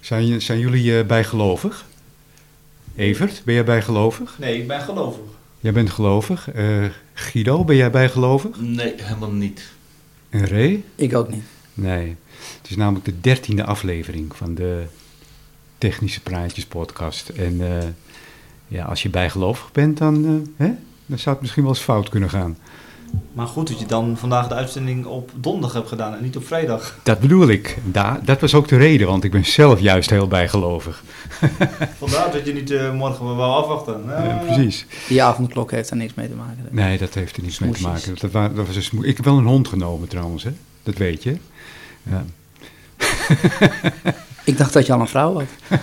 Zijn, je- zijn jullie eh, bijgelovig? Evert, ben jij bijgelovig? Nee, ik ben gelovig. Jij bent gelovig. Eh, Guido, ben jij bijgelovig? Nee, helemaal niet. En Ray? Ik ook niet. Nee. Het is namelijk de dertiende aflevering van de Technische Praatjes podcast. En eh, ja, als je bijgelovig bent, dan, eh, hè, dan zou het misschien wel eens fout kunnen gaan. Maar goed dat je dan vandaag de uitzending op donderdag hebt gedaan en niet op vrijdag. Dat bedoel ik. Da dat was ook de reden, want ik ben zelf juist heel bijgelovig. Vandaar dat je niet eh, morgen maar wou afwachten. Eh, Eh, precies. Die avondklok heeft daar niks mee te maken. Nee, dat heeft er niets mee te Smoesjes. maken. Dat, wa- dat was een smoe- ik heb wel een hond genomen trouwens, hè? dat weet je. Ja. Ik dacht dat je al een vrouw had.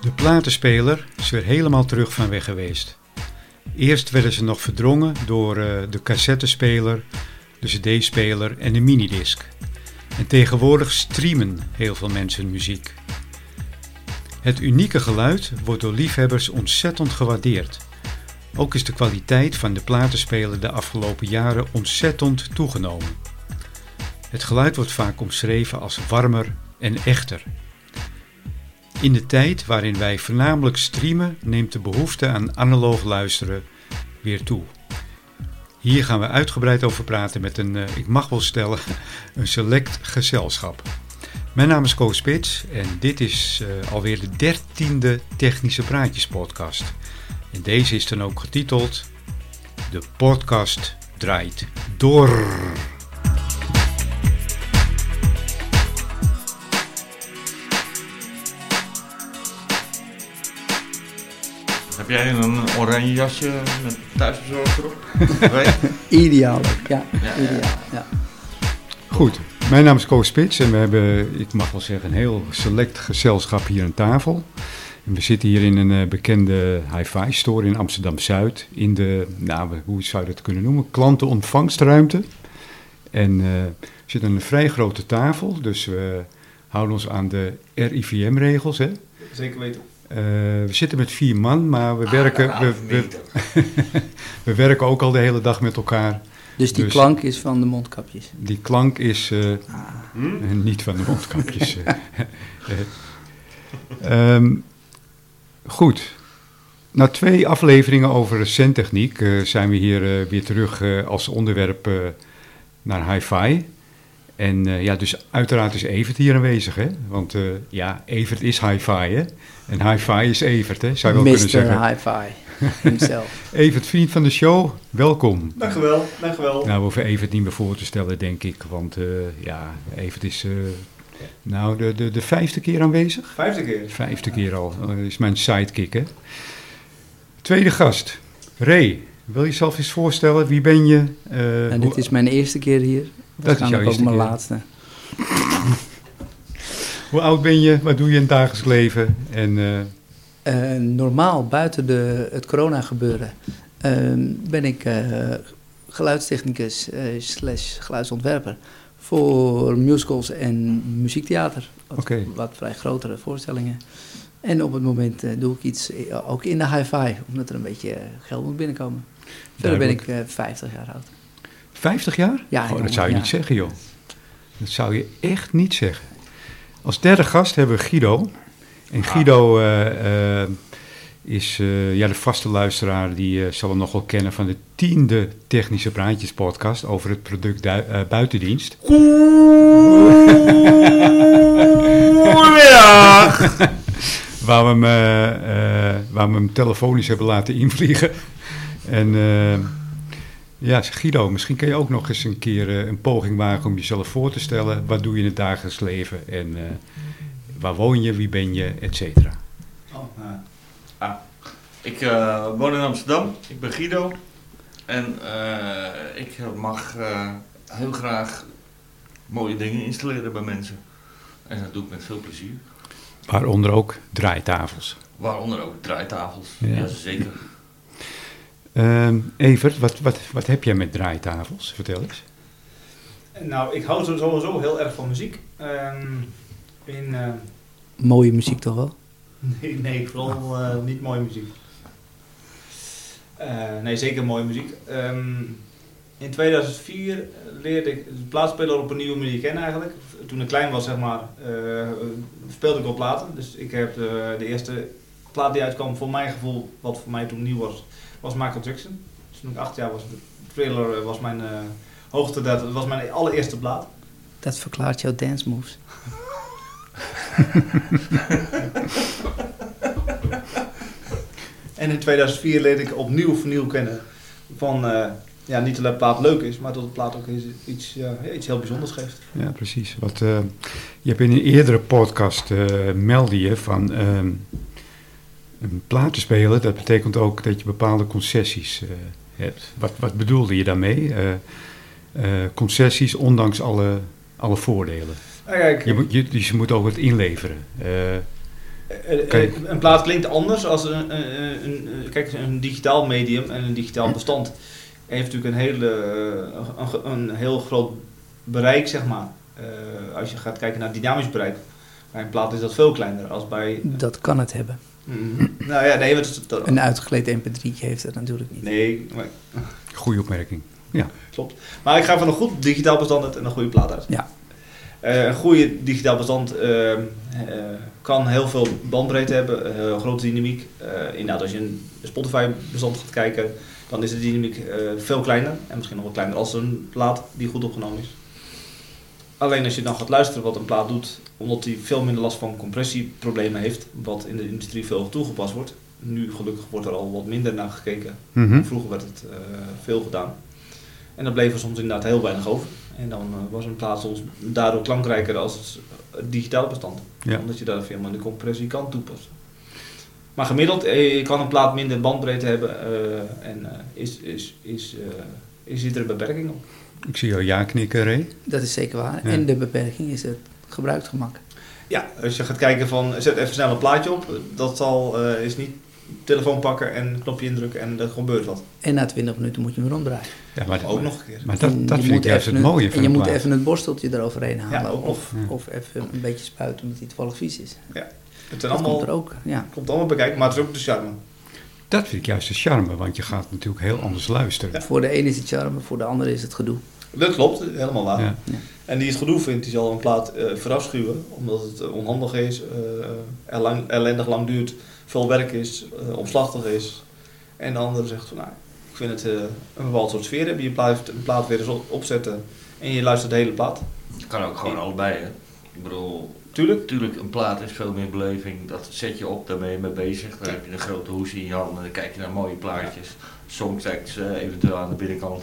De platenspeler is weer helemaal terug van weg geweest. Eerst werden ze nog verdrongen door eh, de cassettespeler, de cd-speler en de minidisc. En tegenwoordig streamen heel veel mensen muziek. Het unieke geluid wordt door liefhebbers ontzettend gewaardeerd. Ook is de kwaliteit van de platenspeler de afgelopen jaren ontzettend toegenomen. Het geluid wordt vaak omschreven als warmer en echter. In de tijd waarin wij voornamelijk streamen, neemt de behoefte aan analoog luisteren weer toe. Hier gaan we uitgebreid over praten met een, eh, ik mag wel stellen, een select gezelschap. Mijn naam is Koos Spits en dit is eh, alweer de dertiende Technische Praatjes podcast. En deze is dan ook getiteld De podcast draait door. Heb jij een oranje jasje met thuisbezorgd erop? Weet? Ideaal. ook, Ja, Ja, ja. ideaal. Ja. Goed, mijn naam is Koos Spits en we hebben, ik mag wel zeggen, een heel select gezelschap hier aan tafel. En we zitten hier in een eh, bekende hi-fi store in Amsterdam-Zuid. In de, nou, we- hoe zou je dat kunnen noemen, klantenontvangstruimte. En eh, er zit een vrij grote tafel, dus we houden ons aan de RIVM-regels. hè. Zeker weten. Eh, we zitten met vier man, maar Ah, we, werken, we, we, Meter. we werken ook al de hele dag met elkaar. Dus die Dus- klank is van de mondkapjes. Die klank is eh, Ah. Eh, Niet van de mondkapjes. eh. Eh, ehm, goed. Na twee afleveringen over recentechniek eh, zijn we hier eh, weer terug eh, als onderwerp eh, naar hi-fi. En eh, ja, dus uiteraard is Evert hier aanwezig, hè? Want eh, ja, Evert is hi-fi, hè? En hi-fi is Evert, hè? Zou je wel kunnen zeggen. Mr. Hi-Fi himself. Evert, vriend van de show, welkom. Dankjewel, dankjewel. Nou, we hoeven Evert niet meer voor te stellen, denk ik. Want eh, ja, Evert is eh, nou de, de, de vijfde keer aanwezig. Vijfde keer. Vijfde keer al. Eh, is mijn sidekick, hè. Tweede gast. Ray, wil je jezelf eens voorstellen? Wie ben je? Eh, En hoe- Nou, dit is mijn eerste keer hier. Waarschijnlijk ook eerste mijn keer. laatste. Hoe oud ben je? Wat doe je in het dagelijks leven? En eh, Eh, normaal, buiten de, het corona gebeuren, ehm, ben ik eh, geluidstechnicus eh, slash geluidsontwerper voor musicals en muziektheater. Wat, Oké. wat vrij grotere voorstellingen. En op het moment eh, doe ik iets eh, ook in de hi-fi, omdat er een beetje eh, geld moet binnenkomen. Verder ben ik Duidelijk. eh, 50 jaar oud. 50 jaar? Ja, Oh, dat jongen, zou je ja. niet zeggen, joh. Dat zou je echt niet zeggen. Als derde gast hebben we Guido. En Guido Ah. eh, eh, is eh, ja, de vaste luisteraar, die eh, zal hem nog wel kennen van de tiende Technische Praatjes podcast over het product du- eh, buitendienst. Goedemiddag! Waar we, hem, eh, eh, waar we hem telefonisch hebben laten invliegen. En eh, ja, Guido, misschien kun je ook nog eens een keer eh, een poging wagen om jezelf voor te stellen. Wat doe je in het dagelijks leven en eh, waar woon je, wie ben je, et cetera. Oh, Ik eh, woon in Amsterdam, ik ben Guido. En eh, ik mag eh, heel graag mooie dingen installeren bij mensen. En dat doe ik met veel plezier. Waaronder ook draaitafels. Waaronder ook draaitafels. Ja. Ja, zeker. Ehm, Evert, wat, wat, wat heb jij met draaitafels? Vertel eens. Nou, ik hou sowieso heel erg van muziek. Ehm, in eh, Mooie muziek toch wel? Nee, nee vooral eh, niet mooie muziek. Eh, nee, zeker mooie muziek. Ehm, in 2004 leerde ik de plaatsspeler op een nieuwe manier kennen eigenlijk. Toen ik klein was, zeg maar, eh, speelde ik al platen. Dus ik heb eh, de eerste plaat die uitkwam, voor mijn gevoel, wat voor mij toen nieuw was, was Michael Jackson. Dus toen ik acht jaar was, de Thriller eh, was mijn eh, hoogte, dat was mijn allereerste plaat. Dat verklaart jouw dance moves. En in 2004 leerde ik opnieuw vernieuw kennen van eh, ja, niet alleen plaat leuk is, maar dat de plaat ook iets, iets, ja, iets heel bijzonders geeft. Ja, precies. Wat, eh, je hebt in een eerdere podcast eh meldde je van eh, een plaat te spelen. Dat betekent ook dat je bepaalde concessies eh, hebt. Wat, wat bedoelde je daarmee? Eh, eh, concessies ondanks alle, alle voordelen. Nou, kijk, Je moet, je, dus je moet ook wat inleveren. Eh, eh, eh, kijk. een plaat klinkt anders als een, een, een- een- kijk, een digitaal medium en een digitaal bestand heeft natuurlijk een, hele, eh, een, ge- een heel groot bereik, zeg maar. Eh, als je gaat kijken naar dynamisch bereik, bij een plaat is dat veel kleiner als bij... Dat kan het hebben. Mhm. nou ja, nee, dat, dat, Een uitgekleed mp3 heeft dat natuurlijk niet. nee, maar goede opmerking. Maar ik ga van een goed digitaal bestand uit en een goede plaat uit. Ja. Eh, een goede digitaal bestand ehm, eh, kan heel veel bandbreedte hebben, eh, grote dynamiek. Eh, inderdaad, als je een Spotify-bestand gaat kijken, dan is de dynamiek eh, veel kleiner. En misschien nog wel kleiner als een plaat die goed opgenomen is. Alleen als je dan gaat luisteren wat een plaat doet, omdat hij veel minder last van compressieproblemen heeft, wat in de industrie veel toegepast wordt. Nu gelukkig wordt er al wat minder naar gekeken. Hm? Mhm. Vroeger werd het eh, veel gedaan. En dan bleef er soms inderdaad heel weinig over. En dan eh, was een plaat soms daardoor klankrijker als het eh, digitale bestand. Ja. Omdat je daar veel minder compressie kan toepassen. Maar gemiddeld eh, kan een plaat minder bandbreedte hebben eh, en eh, is, is, is, eh, is, zit er een beperking op. Ik zie jou ja knikken, Ray. Dat is zeker waar. Ja. En de beperking is het gebruiksgemak. Ja, als je gaat kijken van zet even snel een plaatje op, dat zal, eh, is niet telefoon pakken en knopje indrukken en er gebeurt wat. En na 20 minuten moet je hem ronddraaien. Ja, maar, Ook nog een keer. maar dat, En dat je vind moet ik juist het even een- mooie En van je een moet plaat. even het borsteltje eroverheen halen. ook nog. of, Ja. of even een beetje spuiten omdat hij toevallig vies is. Het zijn Dat allemaal, komt er ook. Ja. komt allemaal bekijken, maar het is ook de charme. Dat vind ik juist de charme, want je gaat natuurlijk heel anders luisteren. Voor de ene is het charme, voor de andere is het gedoe. Dat klopt, helemaal waar. Ja. En die het gedoe vindt, die zal een plaat eh, verafschuwen, omdat het eh, onhandig is, eh, er lang, ellendig lang duurt, veel werk is, eh, omslachtig is. En de andere zegt van, nou, ik vind het eh, een bepaald soort sfeer hebben. Je plaat, een plaat weer eens op- opzetten en je luistert de hele plaat. Het kan ook gewoon allebei, hè. Ik bedoel, Tuurlijk. natuurlijk, een plaat is veel meer beleving. Dat zet je op, daar ben je mee bezig. Dan heb je een grote hoes in je hand en dan kijk je naar mooie plaatjes. Songtekst eh, eventueel aan de binnenkant.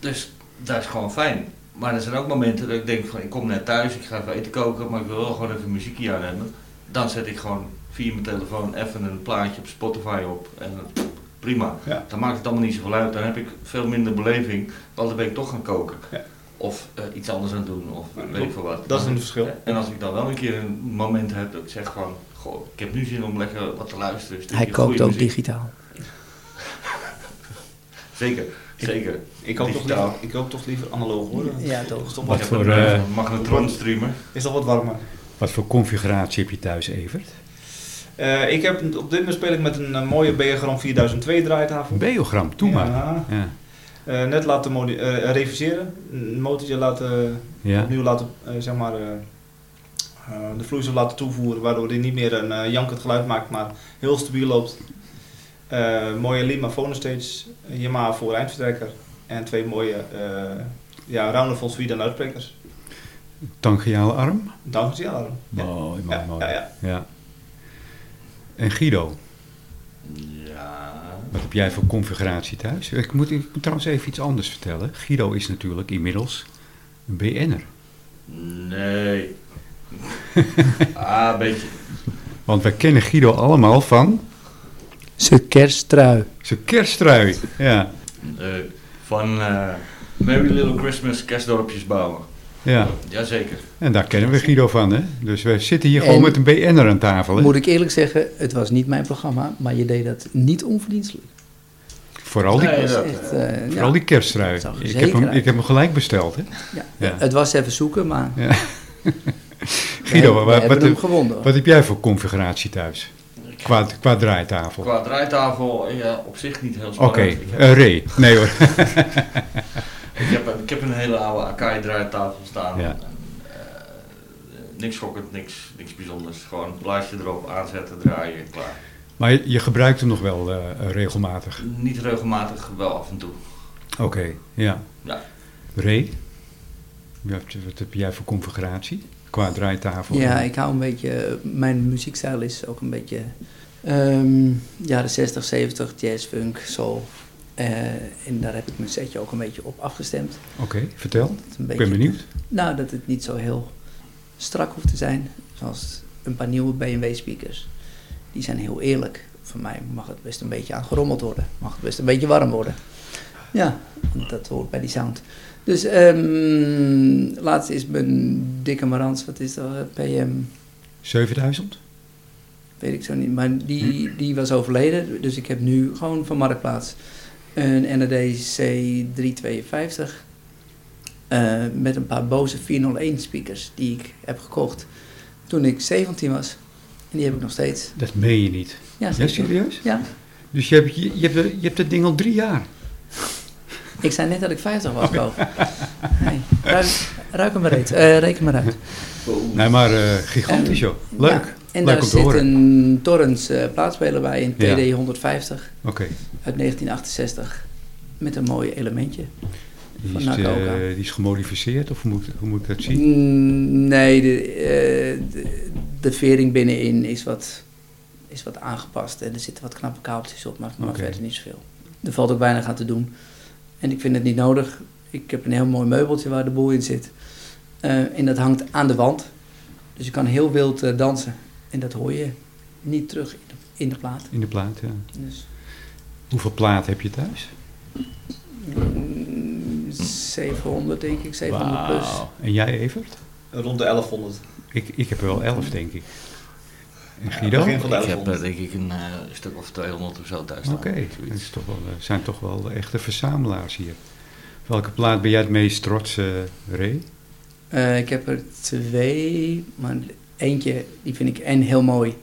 Dus dat is gewoon fijn. Maar er zijn ook momenten dat ik denk van, ik kom net thuis, ik ga even eten koken, maar ik wil wel gewoon even muziekje aan hebben. Dan zet ik gewoon via mijn telefoon even een plaatje op Spotify op en dat- prima. Ja. Dan maakt het allemaal niet zoveel uit. Dan heb ik veel minder beleving, want dan ben ik toch gaan koken. Ja. Of eh, iets anders aan het doen, of Ja, weet ik veel wat. Dat is een verschil. En als ik dan wel een keer een moment heb dat ik zeg gewoon, goh, ik heb nu zin om lekker wat te luisteren. een Hij stukje kookt goede ook muziek. digitaal. Zeker, zeker. Ik koop, toch Digitaal. liever, ik koop toch liever analoog hoor. Ja, toch. Is toch Wat wat, voor, een, eh, eh, magnetron streamer. is toch wat warmer. Wat voor configuratie heb je thuis, Evert? Eh, ik heb, op dit moment speel ik met een eh, mooie Beogram 4002 draaitafel. Een beogram, doe maar. Ja. Ja. Eh, net laten modi- eh, reviseren, een motortje laten, Ja. opnieuw laten, eh, zeg maar, eh, eh, de vloeistof laten toevoeren, waardoor die niet meer een eh, jankend geluid maakt, maar heel stabiel loopt. Eh, mooie Lima Phonostage, een Yamaha voor eindvertrekker en twee mooie eh ja, Roundables Vida luidsprekers. Tangiale arm? Dankzij Ja, Mooi, mooi, ja, mooi. ja, ja. Ja. En Guido, Ja. wat heb jij voor configuratie thuis? Ik moet, ik moet trouwens even iets anders vertellen. Guido is natuurlijk inmiddels een BN'er. Nee. ah, een beetje. Want wij kennen Guido allemaal van Zijn kersttrui. zijn kersttrui. Ja, Nee. Van eh, Merry Little Christmas kerstdorpjes bouwen. ja. Jazeker. En daar kennen we Guido van, hè? Dus we zitten hier En- gewoon met een BN'er aan tafel, hè? Moet ik eerlijk zeggen, het was niet mijn programma, maar je deed dat niet onverdienstelijk. Vooral die, Nee, Het was dat, echt, eh, ja. vooral die kersttrui. Dat zag er Ik zeker heb, hem, uit. ik heb hem gelijk besteld, hè? Ja. Ja. Het was even zoeken, maar Ja. Guido, we wat- hebben wat- hem gewonnen. Wat heb jij voor configuratie thuis? Qua, qua draaitafel. Oké, Qua draaitafel, ja, op zich niet heel spannend. Ik, heb, eh, Ray. Nee hoor. ik, heb, een- ik heb een hele oude Akai draaitafel staan. Ja. En, eh, niks schokkend, niks, niks bijzonders. Gewoon een blaasje erop, aanzetten, draaien, klaar. Maar je, je gebruikt hem nog wel eh, regelmatig. Niet regelmatig, wel af en toe. Oké, ja. Ja. Ray, wat, wat heb jij voor configuratie? Qua draaitafel? Ja, ik hou een beetje. Mijn muziekstijl is ook een beetje. ehm, jaren 60, 70, jazz, funk, soul. Eh, en daar heb ik mijn setje ook een beetje op afgestemd. Oké, vertel. Dat het een Ik beetje, ben benieuwd. Nou, dat het niet zo heel strak hoeft te zijn. Zoals een paar nieuwe BMW-speakers. Die zijn heel eerlijk. Voor mij mag het best een beetje aangerommeld worden. Mag het best een beetje warm worden. Ja, want dat hoort bij die sound. Dus ehm laatst is mijn dikke Marans, wat is dat? PM 7000? weet ik zo niet. Maar die, Hm. die was overleden, dus ik heb nu gewoon van Marktplaats een NADC 352 eh, met een paar boze 401 speakers die ik heb gekocht toen ik 17 was. En die heb ik nog steeds. Dat meen je niet. Ja, Ja, zeker. serieus? Ja, Dus je hebt, je, je hebt, je hebt dat ding al drie jaar. ik zei net dat ik 50 was, Bo. Nee, ruik, ruik hem maar uit. Eh, reken maar uit. Nee, maar eh, gigantisch joh. Leuk. Ehm, Ja, en Leuk daar om te zit horen. een Torrens eh, plaatspeler bij, een Ja. TD 150. Oké. uit 1968 met een mooi elementje. Die, Van is, eh, Nakaoka. die is gemodificeerd of hoe moet, hoe moet ik dat zien? Mm, Nee, de, eh, de, de vering binnenin is wat, is wat aangepast en er zitten wat knappe kabeltjes op, maar, maar Oké. verder niet zoveel. Er valt ook weinig aan te doen en ik vind het niet nodig. Ik heb een heel mooi meubeltje waar de boel in zit Eh, en dat hangt aan de wand, dus je kan heel wild eh, dansen en dat hoor je niet terug in de, in de plaat. In de plaat, ja. Dus, Hoeveel plaat heb je thuis? mm, 700 denk ik, 700 plus. Wauw. En jij, Evert? Rond de 1100. Ik, ik heb er wel elf, denk ik. En Guido? begin Oké, van de Ik heb 1100. eh, denk ik een eh, stuk of 200 of zo thuis staan. dat Zoiets. is toch wel, eh, zijn toch wel echte verzamelaars hier. Welke plaat ben jij het meest trots, eh Ray? Eh, ik heb er twee, maar eentje die vind ik en heel mooi.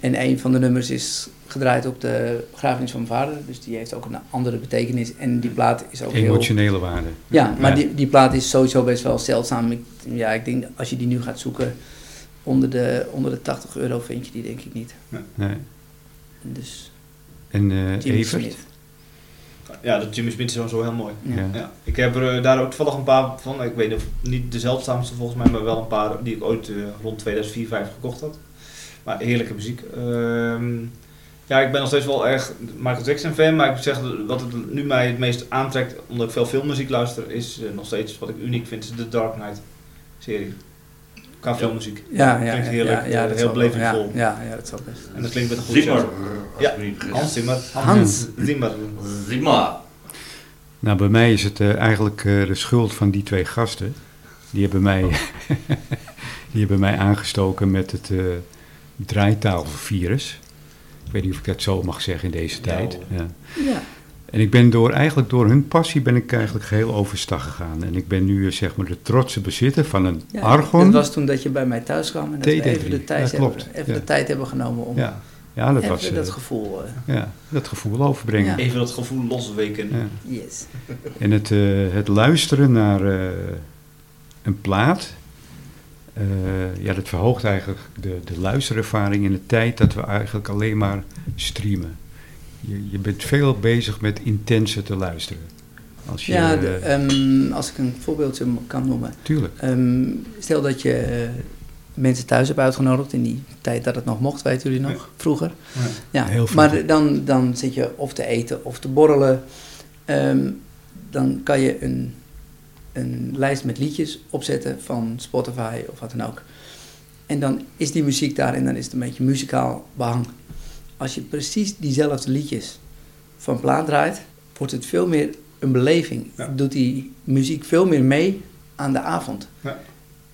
En een van de nummers is gedraaid op de begrafenis van mijn vader. Dus die heeft ook een andere betekenis. En die plaat is ook heel... Emotionele waarde. Ja, maar Ja. Die, die plaat is sowieso best wel zeldzaam. Ik, ja, ik denk als je die nu gaat zoeken, onder de, onder de 80 euro vind je die denk ik niet. Nee. Dus En eh, Jimmy Evert? Smith. Ja, dat Jimmy Smith is sowieso heel mooi. Ja. Ja. Ja, ik heb er eh, daar ook toevallig een paar van. Ik weet niet of- niet de zeldzaamste volgens mij, maar wel een paar die ik ooit eh, rond 2004, 2005 gekocht had. Maar heerlijke muziek. Ehm, ja, ik ben nog steeds wel erg Michael Jackson fan, maar ik zeg wat het nu mij het meest aantrekt, omdat ik veel filmmuziek luister, is eh, nog steeds wat ik uniek vind, is de Dark Knight serie. Qua filmmuziek. Ja, ja, Klinkt ja, heerlijk, ja, ja, eh, dat heel zal wel. belevingvol. Ja, ja, ja, dat zal best. En dat klinkt met een goede Zimmer. show. Ja. alsjeblieft. Hans Zimmer. Hans. Zimmer. Zimmer. Nou, bij mij is het eh, eigenlijk eh, de schuld van die twee gasten. Die hebben mij, Oh. die hebben mij aangestoken met het eh draaitafelvirus. Ik weet niet of ik dat zo mag zeggen in deze Nou. Ja, tijd. hoor. Ja. Ja. En ik ben door, eigenlijk door hun passie ben ik eigenlijk geheel overstag gegaan. En ik ben nu eh, zeg maar de trotse bezitter van een Ja, Argon. Dat was toen dat je bij mij thuis kwam en dat we TD3, even de tijd, ja, klopt, hebben, even ja. de tijd hebben genomen om ja, ja, dat even was eh, dat gevoel. eh, ja, dat gevoel overbrengen. Even dat gevoel losweken. Ja. yes. En het, eh, het luisteren naar eh, een plaat, eh, ja, dat verhoogt eigenlijk de, de luisterervaring in de tijd dat we eigenlijk alleen maar streamen. Je, je bent veel bezig met intenser te luisteren. Als je, Ja, de- eh, ehm, als ik een voorbeeldje m- kan noemen. tuurlijk. Ehm, stel dat je eh, mensen thuis hebt uitgenodigd in die tijd dat het nog mocht, weten jullie nog, vroeger. Ja. Ja, Heel vroeger. maar dan, dan zit je of te eten of te borrelen. Ehm, dan kan je een, een lijst met liedjes opzetten van Spotify of wat dan ook. En dan is die muziek daar en dan is het een beetje muzikaal behang. Als je precies diezelfde liedjes van plaat draait, wordt het veel meer een beleving. Ja. Doet die muziek veel meer mee aan de avond. Ja.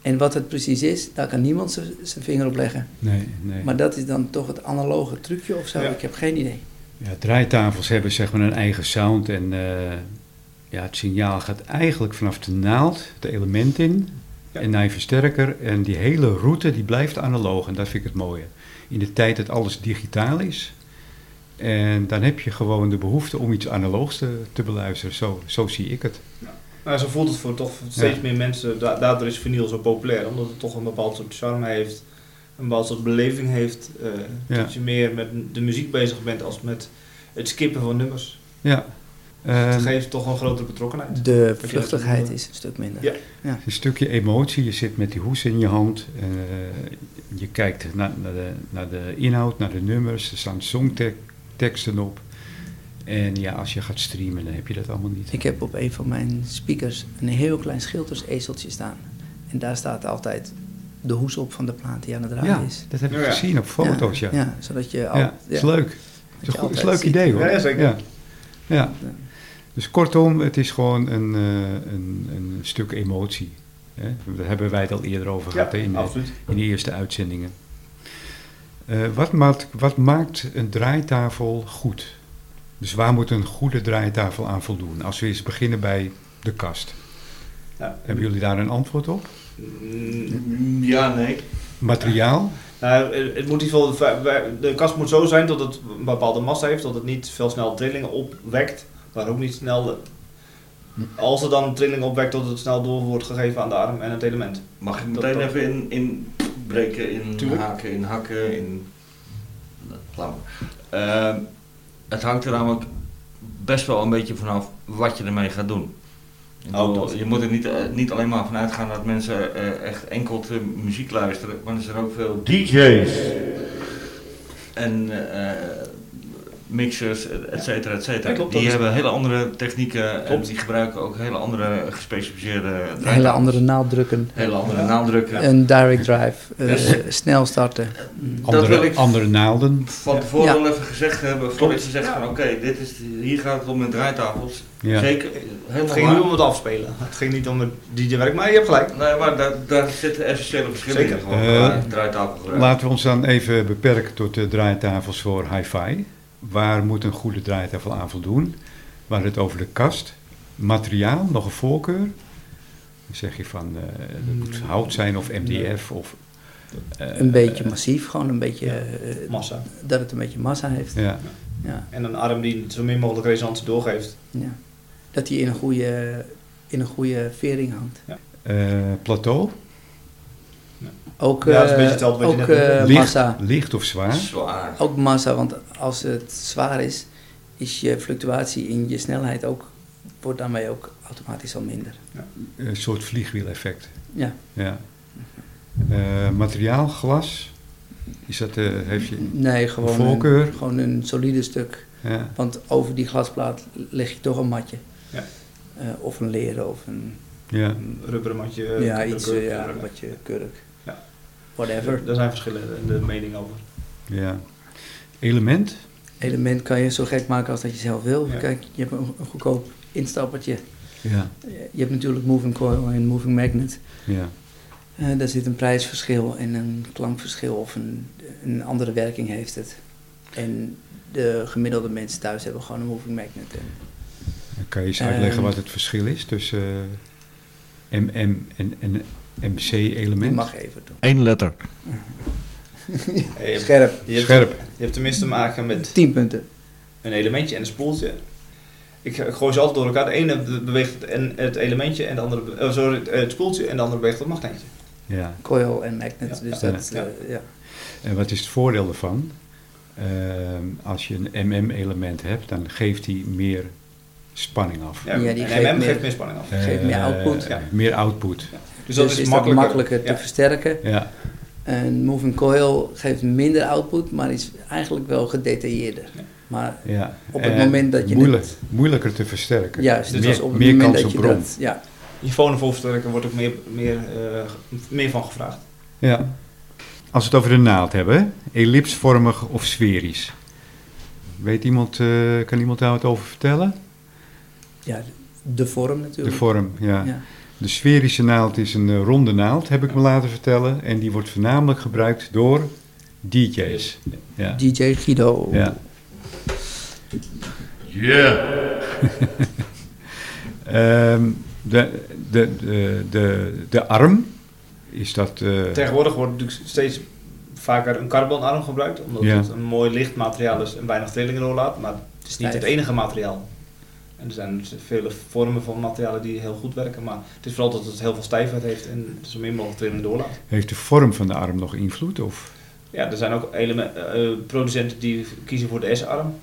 En wat het precies is, daar kan niemand zijn- zijn vinger op leggen. Nee, nee. Maar dat is dan toch het analoge trucje of zo? Ja. Ik heb geen idee. Ja, draaitafels hebben zeg maar een eigen sound en eh, ja, het signaal gaat eigenlijk vanaf de naald, de element in, Ja. en Nijver sterker. En die hele route die blijft analoog en dat vind ik het mooie. In de tijd dat alles digitaal is. En dan heb je gewoon de behoefte om iets analoogs te, te beluisteren. Zo, zo zie ik het. Nou, zo voelt het voor toch steeds meer mensen. Da- daardoor is vinyl zo populair, omdat het toch een bepaald soort charme heeft. Een bepaald soort beleving heeft. eh, Ja. Dat je meer met de muziek bezig bent als met het skippen van nummers. Ja. het Ehm, geeft toch een grotere betrokkenheid. De dat vluchtigheid noemen? is een stuk minder. Ja. Een stukje emotie. Je zit met die hoes in je hand. eh, je kijkt naar, naar, de, naar de inhoud, naar de nummers. Er staan songteksten op. En ja, als je gaat streamen, dan heb je dat allemaal niet. Ik heb op een van mijn speakers een heel klein schildersezeltje staan. En daar staat altijd de hoes op van de plaat die aan het draaien ja, is. dat heb ik Ja, ja. gezien op foto's, ja. Ja, Ja, zodat je al, het is leuk. dat Het je is, een goed, altijd het is een leuk ziet. idee, hoor. Ja, zeker. Ja. Ja. Dus kortom, het is gewoon een, eh, een, een stuk emotie. Hè? Daar hebben wij het al eerder over Ja, gehad hè, in de- absoluut. in de eerste uitzendingen. Eh, wat, maakt, wat maakt een draaitafel goed? Dus waar moet een goede draaitafel aan voldoen? Als we eens beginnen bij de kast. Ja. Hebben jullie daar een antwoord op? Mm, Ja, nee. Materiaal? Nou, het het moet in ieder geval, de kast moet zo zijn dat het een bepaalde massa heeft, dat het niet veel snel trillingen opwekt, maar ook niet snel, Hm. als er dan een trilling opwekt, dat het snel door wordt gegeven aan de arm en het element. Mag ik meteen Dat- even in, in breken, in Tuurlijk. haken, in hakken, in... Nou, laat maar. Ehm, het hangt er namelijk best wel een beetje vanaf wat je ermee gaat doen. Ik Oh, bedoel, dat. je moet er niet, eh, niet alleen maar vanuit gaan dat mensen eh, echt enkel te muziek luisteren, maar er zijn ook veel DJ's en eh, mixers, et cetera, et cetera. Ja, klopt, dat die is- hebben hele andere technieken en Klopt. die gebruiken ook hele andere gespecialiseerde Hele draaitafels. andere naalddrukken. hele andere Ja. naamdrukken. Een direct drive. eh, Yes. Snel starten. wil Andere, ik- andere naalden? van Ja. tevoren Ja. al even gezegd hebben, voordat je zegt Ja. van oké, dit is, hier gaat het om met draaitafels. Ja. Zeker, Het ging niet helemaal om waar. het afspelen, het ging niet om het DJ-werk, maar je hebt gelijk. Nee, maar daar, daar zitten essentiële verschillen Zeker. in, gewoon Eh, qua draaitafelgebruik. Laten we ons dan even beperken tot de draaitafels voor hi-fi. Waar moet een goede draaitafel aan voldoen? We hadden het over de kast. Materiaal, nog een voorkeur? Dan zeg je van, eh het moet hout zijn of MDF of... eh, Een beetje massief, gewoon een beetje. ja. eh, Massa. dat het een beetje massa heeft. Ja. Ja, Ja, En een arm die zo min mogelijk resonantie doorgeeft. Dat die in een goede, in een goede vering hangt. eh, plateau, Ook, Ja, dat is een eh, beetje hetzelfde wat je ook net eh, licht, massa. licht of zwaar. Zwaar. Ook massa, want als het zwaar is, is je fluctuatie in je snelheid ook, wordt daarmee ook automatisch al minder. Een soort vliegwieleffect. Ja, Ja. Eh, materiaal, glas. Is dat, eh heeft je... nee, gewoon eh, Voorkeur? een, gewoon een solide stuk. Ja. Want over die glasplaat leg je toch een matje. Ja. Eh, of een leren of een, ja. Een rubberen matje. ja, iets, eh, ja, rubberen. wat je kurk. Ja. Whatever. Daar zijn verschillende meningen over. ja. Element. element kan je zo gek maken als dat je zelf wil. Ja. Kijk, je hebt een, een goedkoop instappertje. Ja. Je hebt natuurlijk moving coil en moving magnet. Ja. Eh, daar zit een prijsverschil en een klankverschil of een, een andere werking heeft het. En de gemiddelde mensen thuis hebben gewoon een moving magnet. En Dan kan je eens uitleggen Ehm, wat het verschil is tussen eh, MM en, en die MC-element? mag even doen. Eén letter. Hey, je, hebt, Scherp. je, hebt, Scherp. je hebt tenminste te maken Eh, met 10 punten. een elementje en een spoeltje. Ik, ik gooi ze altijd door elkaar. De ene be- beweegt het, en het elementje en de andere, be- eh, sorry, het spoeltje en de andere beweegt het magneetje. Ja. Coil en magnet. Ja. Dus Ja. dat, eh, ja. En wat is het voordeel daarvan? Ehm, als je een MM-element hebt, dan geeft die meer spanning af. Ja, Ja, die en geeft MM geeft meer- meer spanning af. Eh, geeft meer output. ja, Meer output. Dus dat is, is dat makkelijker. makkelijker te Ja. versterken. Ja, Een moving coil geeft minder output, maar is eigenlijk wel gedetailleerder. Maar ja. Op het En moment dat je moeilijk- het- moeilijker te versterken. juist, dus meer, als op het meer moment kans dat je op bron. dat... Ja, Je fonenvolversterker wordt ook meer, meer, eh, meer van gevraagd. Ja. Als we het over de naald hebben, ellipsvormig of sferisch. Weet iemand, eh, kan iemand daar wat over vertellen? ja, de vorm De natuurlijk. vorm, ja. Ja. De sferische naald is een eh, ronde naald, heb ik me laten vertellen. En die wordt voornamelijk gebruikt door DJ's. Ja. DJ Guido. ja. Yeah. Ehm, de, de, de, de, de arm Is dat... eh, Tegenwoordig wordt natuurlijk steeds vaker een carbonarm gebruikt, omdat Ja. het een mooi licht materiaal is en weinig trillingen doorlaat, maar het is niet het Stijf. enige materiaal. En er zijn dus vele vormen van materialen die heel goed werken, maar het is vooral dat het heel veel stijfheid heeft en zo min mogelijk trillingen doorlaat. heeft de vorm van de arm nog invloed? Of? Ja, er zijn ook elemen- eh, producenten die kiezen voor de S-arm.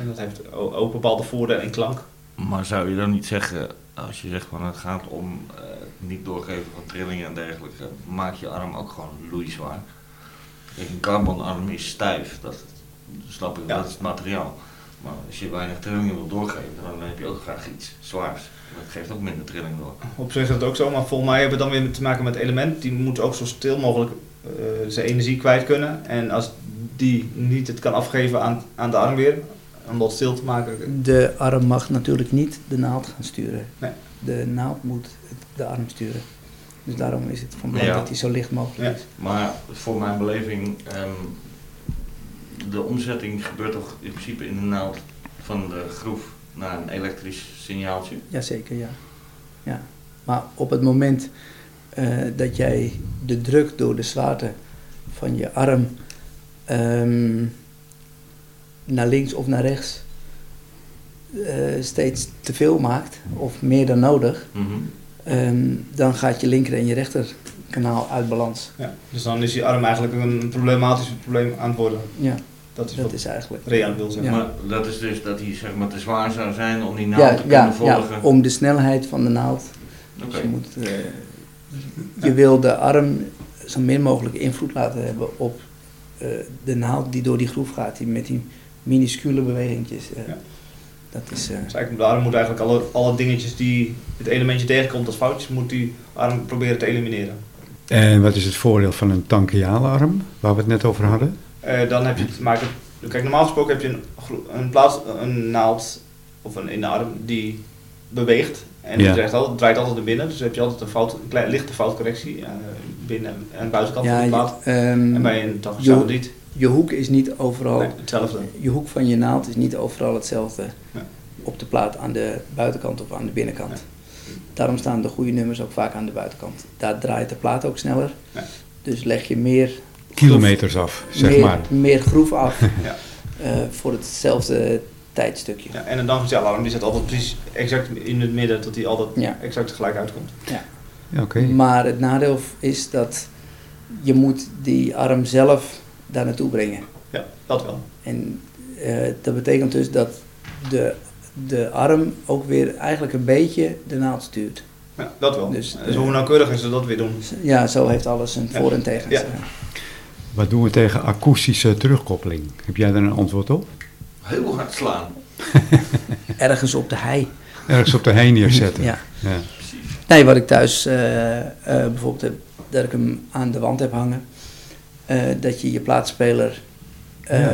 En dat heeft o- ook bepaalde voordelen en klank. Maar zou je dan niet zeggen, als je zegt van het gaat om eh, het niet doorgeven van trillingen en dergelijke, maak je arm ook gewoon loeizwaar. Kijk, een carbonarm is stijf, dat snap ik, Ja. dat is het materiaal. Maar als je weinig trillingen wil doorgeven, dan heb je ook graag iets zwaars. Dat geeft ook minder trilling door. Op zich is dat ook zo, maar volgens mij hebben we dan weer te maken met elementen. Die moeten ook zo stil mogelijk eh, zijn energie kwijt kunnen. En als die niet het kan afgeven aan, aan de arm weer, om dat stil te maken. De arm mag natuurlijk niet de naald gaan sturen. Nee. De naald moet het- de arm sturen. Dus daarom is het van belang Ja. dat hij zo licht mogelijk Ja. is. Maar voor mijn beleving, ehm, de omzetting gebeurt toch in principe in de naald van de groef naar een elektrisch signaaltje. Jazeker, ja. ja. Maar op het moment eh, dat jij de druk door de zwaarte van je arm ehm, naar links of naar rechts eh, steeds te veel maakt, of meer dan nodig, Mhm. ehm, dan gaat je linker en je rechter kanaal uit balans. Ja. Dus dan is die arm eigenlijk een problematisch probleem aan het worden. Ja, Dat is dat wat is eigenlijk. Rean wil zeggen. Maar dat is dus dat hij zeg maar te zwaar zou zijn om die naald Ja, te kunnen ja, volgen. ja, om de snelheid van de naald Oké. Dus je, moet, eh, je wil de arm zo min mogelijk invloed laten hebben op eh, de naald die door die groef gaat, die met die minuscule bewegingjes. eh, Ja. Dat is, eh, Dus eigenlijk, de arm moet eigenlijk alle, alle dingetjes die het elementje tegenkomt als foutjes, moet die arm proberen te elimineren. En wat is het voordeel van een tankiale arm, waar we het net over hadden? Eh, dan heb je te maken. Kijk, normaal gesproken heb je een, gro- een, plaats, een naald of een, een arm die beweegt. En Ja. die draait altijd, draait altijd naar binnen. Dus heb je altijd een, fout, een klein, lichte foutcorrectie eh, binnen en buitenkant ja, van de plaat. je, ehm, en bij een tachtig je- zou het niet. je hoek is niet overal, Nee, hetzelfde. je hoek van je naald is niet overal hetzelfde Nee. op de plaat aan de buitenkant of aan de binnenkant. Daarom staan de goede nummers ook vaak aan de buitenkant. Daar draait de plaat ook sneller. Ja. Dus leg je meer Kilometers af, zeg meer, maar. meer groef af Ja. eh, voor hetzelfde tijdstukje. Ja, en een tangentiale arm die zit altijd precies exact in het midden, tot die altijd Ja. exact gelijk uitkomt. Ja, Oké. Maar het nadeel is dat je moet die arm zelf daar naartoe brengen. Ja, dat wel. En eh, dat betekent dus dat de, de arm ook weer eigenlijk een beetje de naald stuurt. Ja, dat wel. Dus, Dus, eh, hoe nauwkeuriger ze dat weer doen. Ja, zo heeft alles een Ja. voor- en tegen. Ja. Wat doen we tegen akoestische terugkoppeling? Heb jij daar een antwoord op? Heel hard slaan. Ergens op de hei. Ergens op de hei neerzetten. Ja. Ja. Nee, wat ik thuis eh, eh, bijvoorbeeld heb, dat ik hem aan de wand heb hangen. Eh, dat je je plaatsspeler, eh,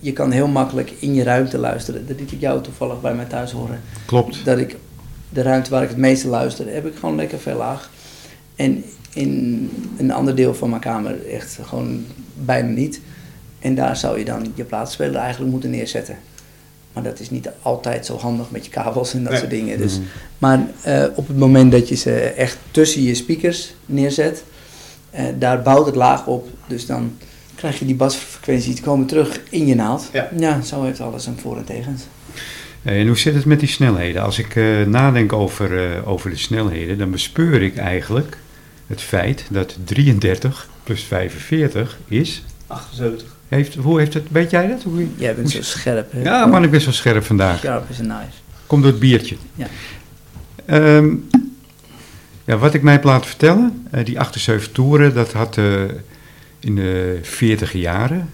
je kan heel makkelijk in je ruimte luisteren. Dat liet ik jou toevallig bij mij thuis horen. Klopt. Dat ik de ruimte waar ik het meeste luister, heb ik gewoon lekker veel laag. En in een ander deel van mijn kamer echt gewoon bijna niet. En daar zou je dan je plaatsspeler eigenlijk moeten neerzetten. Maar dat is niet altijd zo handig met je kabels en dat Nee. soort dingen. Mhm. Dus Mm. maar eh, op het moment dat je ze echt tussen je speakers neerzet, eh, daar bouwt het laag op. Dus dan krijg je die basfrequentie te komen terug in je naald. Ja. zo heeft alles een voor- en tegens. Hey, Eh, En hoe zit het met die snelheden? Als ik eh, nadenk over, eh, over de snelheden, dan bespeur ik eigenlijk het feit dat 33 plus 45 is. 78. Heeft, hoe heeft het, weet jij dat? Hoe, Jij bent hoe- zo scherp, hè? Ja, man, ik ben zo scherp vandaag. Scherp is een nice. Komt door het biertje. Ja. Ehm, ja, wat ik mij heb laten vertellen, eh, die 78 toeren, dat had eh, in de 40 jaren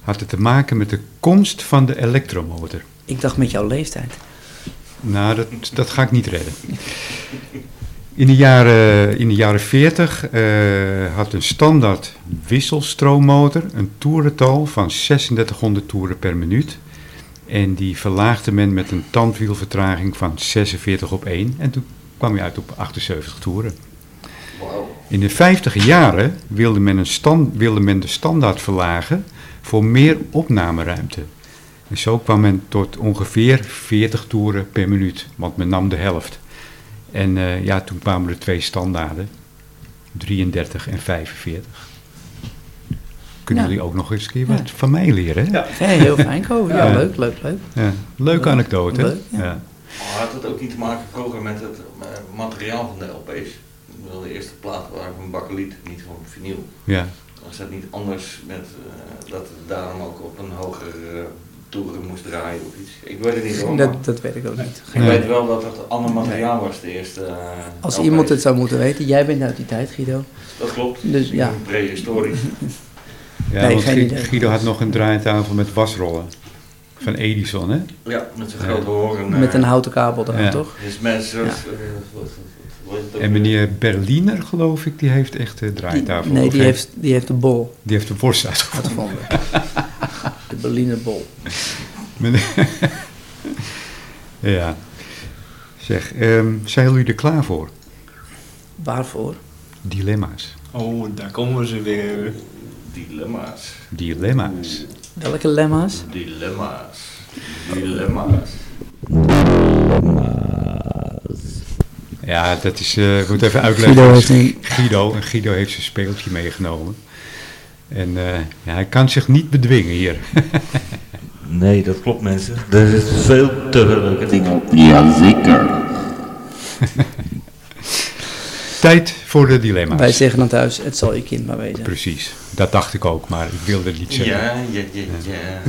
had het te maken met de komst van de elektromotor. Ik dacht met jouw leeftijd. Nou, dat, dat ga ik niet redden. In de jaren, in de jaren 40 eh, had een standaard wisselstroommotor een toerental van 3600 toeren per minuut. En die verlaagde men met een tandwielvertraging van 46 op 1. En toen kwam je uit op 78 toeren. Wauw. In de 50 jaren wilde men, een stan- wilde men de standaard verlagen voor meer opnameruimte. En zo kwam men tot ongeveer 40 toeren per minuut, want men nam de helft. En eh, ja, toen kwamen er twee standaarden. 33 en 45. Kunnen Ja. jullie ook nog eens een keer Ja. wat van mij leren? Hè? Ja. Hey, heel fijn, Ko. Ja, Ja. leuk, leuk, leuk. Ja. Leuke Leuk. anekdote. hè? Leuk, ja. Ja. Maar had het ook niet te maken Koga, met het eh, materiaal van de LP's? Ik bedoel, de eerste plaat waren van bakkeliet, niet van vinyl. Ja. Was dat niet anders met eh, dat het daarom ook op een hogere eh, toeren moest draaien of iets? Ik weet het niet hoor. maar Dat, dat weet ik ook niet. Ik Geen Nee. weet wel dat het ander materiaal was, de eerste. eh, Als LP's. iemand het zou moeten weten, jij bent uit die tijd, Guido. Dat klopt. Dus ja. Prehistorisch. Ja, Nee, want geen Gu- idee. Guido had nog een draaitafel met wasrollen. Van Edison, hè? Ja, met zijn Ja. grote horen. eh, Met een houten kabel eraan, Ja. toch? Dus mensen. Ja. eh, wat- wat- wat- wat- En meneer Berliner, geloof ik, die heeft echt eh, de eh, Die- draaitafel. nee, of die heeft, die heeft de bol die heeft de worst uit. uitgevonden. de Berliner bol. Meneer- ja. Zeg, ehm, zijn jullie er klaar voor? Waarvoor? Dilemma's. Oh, daar komen we ze weer. Dilemma's. Dilemma's. Welke lemma's? Dilemma's. Dilemma's. Ja, dat is... eh, ik moet even uitleggen. Guido is nu... Guido. En Guido heeft zijn speeltje meegenomen. En eh, ja, hij kan zich niet bedwingen hier. Nee, dat klopt mensen. Er is veel te leuke dingen. Tijd voor de dilemma's. Wij zeggen dan thuis, het zal je kind maar wezen. Precies. Dat dacht ik ook, maar ik wilde het niet zeggen. Ja, ja, ja, ja.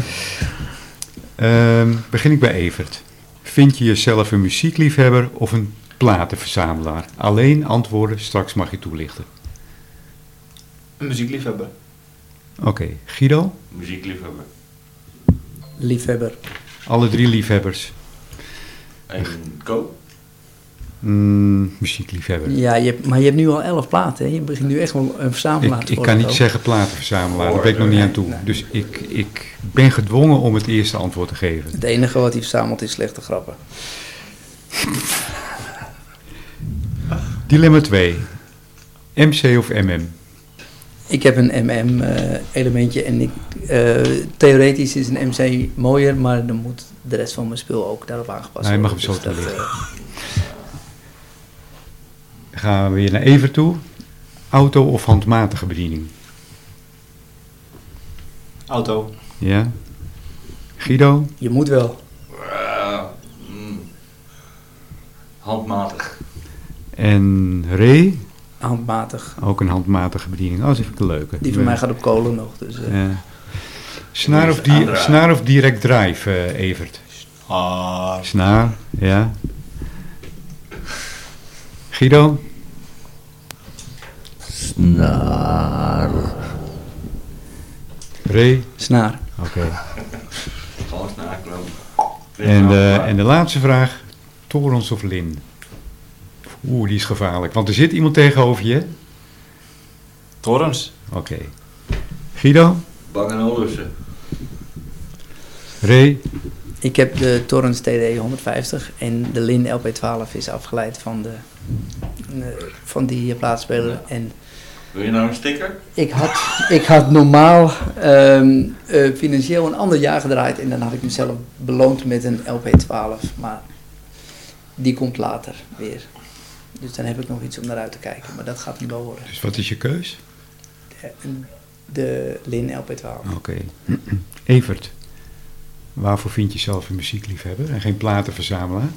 Ehm, begin ik bij Evert. Vind je jezelf een muziekliefhebber of een platenverzamelaar? Alleen antwoorden, straks mag je toelichten. Een muziekliefhebber. Oké, Guido, Muziekliefhebber. Liefhebber. alle drie liefhebbers. En Ko? Mm, muziekliefhebber. Ja, je hebt, maar je hebt nu al elf platen. Hè? Je begint nu echt wel een verzamelaar Ik, te ik worden, kan niet Ko. zeggen platenverzamelaar, daar ben ik nog niet aan toe. Dus ik, ik ben gedwongen om het eerste antwoord te geven. Het enige wat hij verzamelt is slechte grappen. Dilemma 2. MC of MM? Ik heb een MM-elementje en ik, eh, theoretisch is een MC mooier, maar dan moet de rest van mijn spul ook daarop aangepast Hij worden. mag hem zo dat, toe eh, Gaan we weer naar Evert toe. Auto of handmatige bediening? Auto. Ja. Guido? Je moet wel. Eh, mm. handmatig. En Ray? Handmatig. Ook een handmatige bediening. Oh, dat vind ik een leuke. Die van mij gaat op kolen nog. Dus, eh. Ja. Snaar, of Die is di- aandraaien. snaar of direct drive, eh, Evert? Ah. Snaar, ja. Guido? Snaar. Ray? Snaar. Oké. Gewoon snaarkloon. En, eh, en de laatste vraag. Torens of Lin? Oeh, die is gevaarlijk. Want er zit iemand tegenover je. hè? Torrens. Oké. Guido? Bang en Olufsen. Ray? Ik heb de Torrens TD 150 en de Lin LP12 is afgeleid van, de, eh, van die eh, plaatspeler. Ja. En Wil je nou een sticker? ik had, ik had normaal ehm, eh, financieel een ander jaar gedraaid en dan had ik mezelf beloond met een LP12. Maar die komt later weer. Dus dan heb ik nog iets om naar uit te kijken, maar dat gaat niet wel worden. Dus wat is je keus? De, de Lin LP12. Oké. Evert? Waarvoor vind je zelf een muziekliefhebber en geen platenverzamelaar?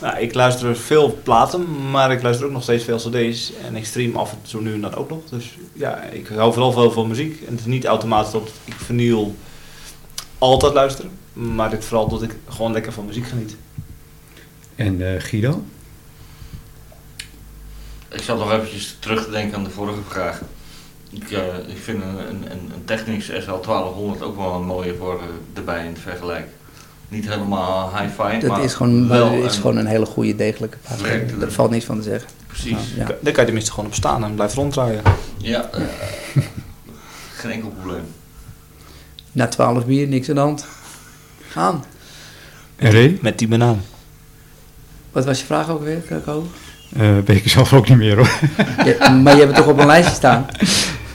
Nou, ik luister veel platen, maar ik luister ook nog steeds veel cd's. En ik stream af en toe nu en dan ook nog. Dus ja, ik hou vooral veel van muziek. En het is niet automatisch dat ik vinyl altijd luister. Maar dit vooral dat ik gewoon lekker van muziek geniet. En eh, Guido? Ik zat nog eventjes terug te denken aan de vorige vraag. Ik, eh, ik vind een, een, een een Technics SL1200 ook wel een mooie voor eh, erbij in het vergelijk. Niet helemaal high-fi, Dat maar is gewoon, wel dat is een- gewoon een hele goede, degelijke plaat. Verrekte- Daar valt niets van te zeggen. Precies. Ja. Daar kan je tenminste gewoon op staan en blijft ronddraaien. Ja, eh, geen enkel probleem. Na 12 bier, niks aan de hand. Gaan. En Ray? Met die banaan. Wat was je vraag ook weer, Kako? Eh weet ik zelf ook niet meer hoor. Je- maar je hebt het toch op een lijstje staan?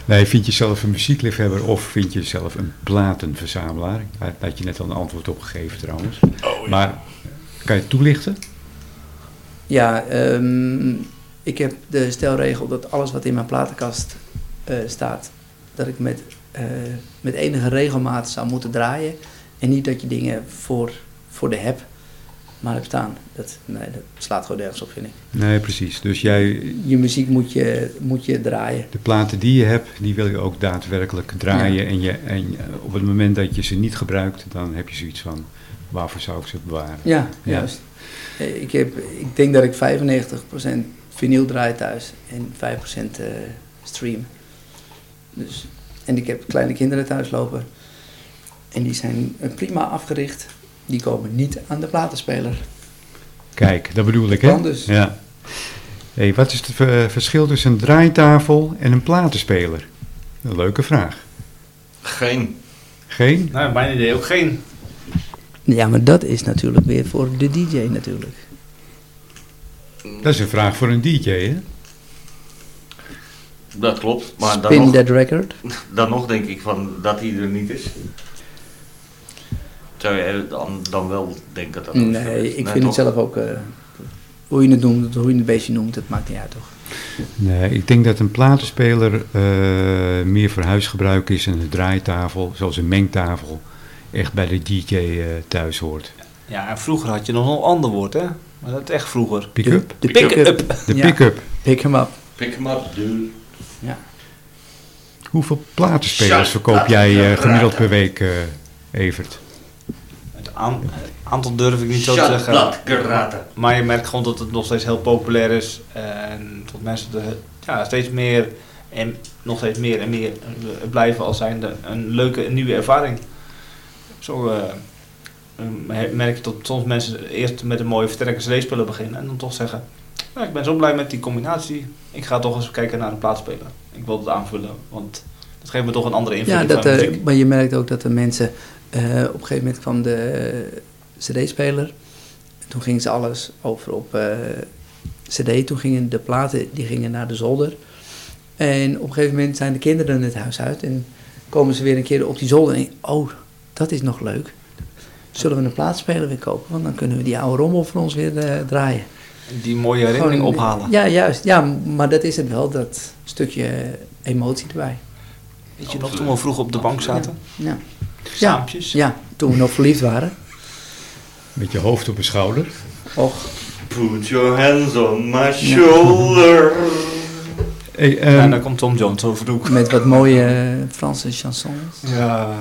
Nee, vind je zelf een muziekliefhebber of vind je jezelf een platenverzamelaar? Daar had je net al een antwoord op gegeven trouwens. Oh, Maar kan je het toelichten? Ja, ehm, Ik heb de stelregel dat alles wat in mijn platenkast eh, staat, dat ik met, eh, met enige regelmaat zou moeten draaien. En niet dat je dingen voor, voor de heb maar hebt staan. Dat, nee, dat slaat gewoon nergens op, vind ik. Nee, precies. Dus jij, Je muziek moet je, moet je draaien. de platen die je hebt, die wil je ook daadwerkelijk draaien. En, je, en je- op het moment dat je ze niet gebruikt, dan heb je zoiets van, waarvoor zou ik ze bewaren? Ja, Ja. juist. Eh, Ik, heb, ik denk dat ik 95% vinyl draai thuis en 5% eh, stream. Dus, en ik heb kleine kinderen thuis lopen. En die zijn eh, prima afgericht. Die komen niet aan de platenspeler. Kijk, dat bedoel ik, hè? Kan dus. Ja. Hey, wat is het eh, verschil tussen een draaitafel en een platenspeler? Een leuke vraag. Geen. Geen? Nou, mijn idee ook geen. Ja, maar dat is natuurlijk weer voor de DJ natuurlijk. Dat is een vraag voor een DJ, hè? Dat klopt. Maar dan Spin nog, that record. dan nog denk ik van dat hij er niet is. Zou je dan, dan wel denken dat dat een verschil Nee, is? ik vind het toch? zelf ook... eh, hoe je het noemt, hoe je het beestje noemt, het maakt niet uit toch? Nee, ik denk dat een platenspeler eh, meer voor huisgebruik is en een draaitafel, zoals een mengtafel, echt bij de DJ eh, thuis hoort. Ja, en vroeger had je nog een ander woord, hè? Maar dat is echt vroeger. Pick-up? De Pick-up. pick-up. De Ja, pick-up. Pick hem up. Pik hem op, dude. Hoeveel platenspelers Ja, verkoop dat- jij eh, dat- gemiddeld dat- per week, eh, Evert? Het aan- het aantal durf ik niet zo te Shut zeggen. that karate. Maar je merkt gewoon dat het nog steeds heel populair is. En dat mensen er ja, steeds meer en nog steeds meer en meer eh, blijven als zijnde een leuke nieuwe ervaring. Zo eh, eh, merk je dat soms mensen eerst met een mooie vertrekkers spullen beginnen. En dan toch zeggen, "Nou, ik ben zo blij met die combinatie. Ik ga toch eens kijken naar een plaatspeler. Ik wil het aanvullen, want dat geeft me toch een andere Ja, invulling dat, van eh, muziek. maar je merkt ook dat de mensen... eh, op een gegeven moment kwam de eh, cd-speler. Toen gingen ze alles over op eh, cd. Toen gingen de platen die gingen naar de zolder. En op een gegeven moment zijn de kinderen het huis uit. En komen ze weer een keer op die zolder. En oh, dat is nog leuk. Zullen we een plaatspeler weer kopen? Want dan kunnen we die oude rommel voor ons weer eh, draaien. Die mooie herinnering Gewoon- ophalen. Ja, juist. Ja, maar dat is het wel. Dat stukje eh, emotie erbij. Weet je nog, toen we vroeger op de bank zaten. Ja, ja, Saampjes. ja toen we nog verliefd waren. Met je hoofd op een schouder. Och, Put your hands on my shoulder. Hey, En ehm, daar komt Tom Jones over de hoek. Met wat mooie eh, Franse chansons. Ja,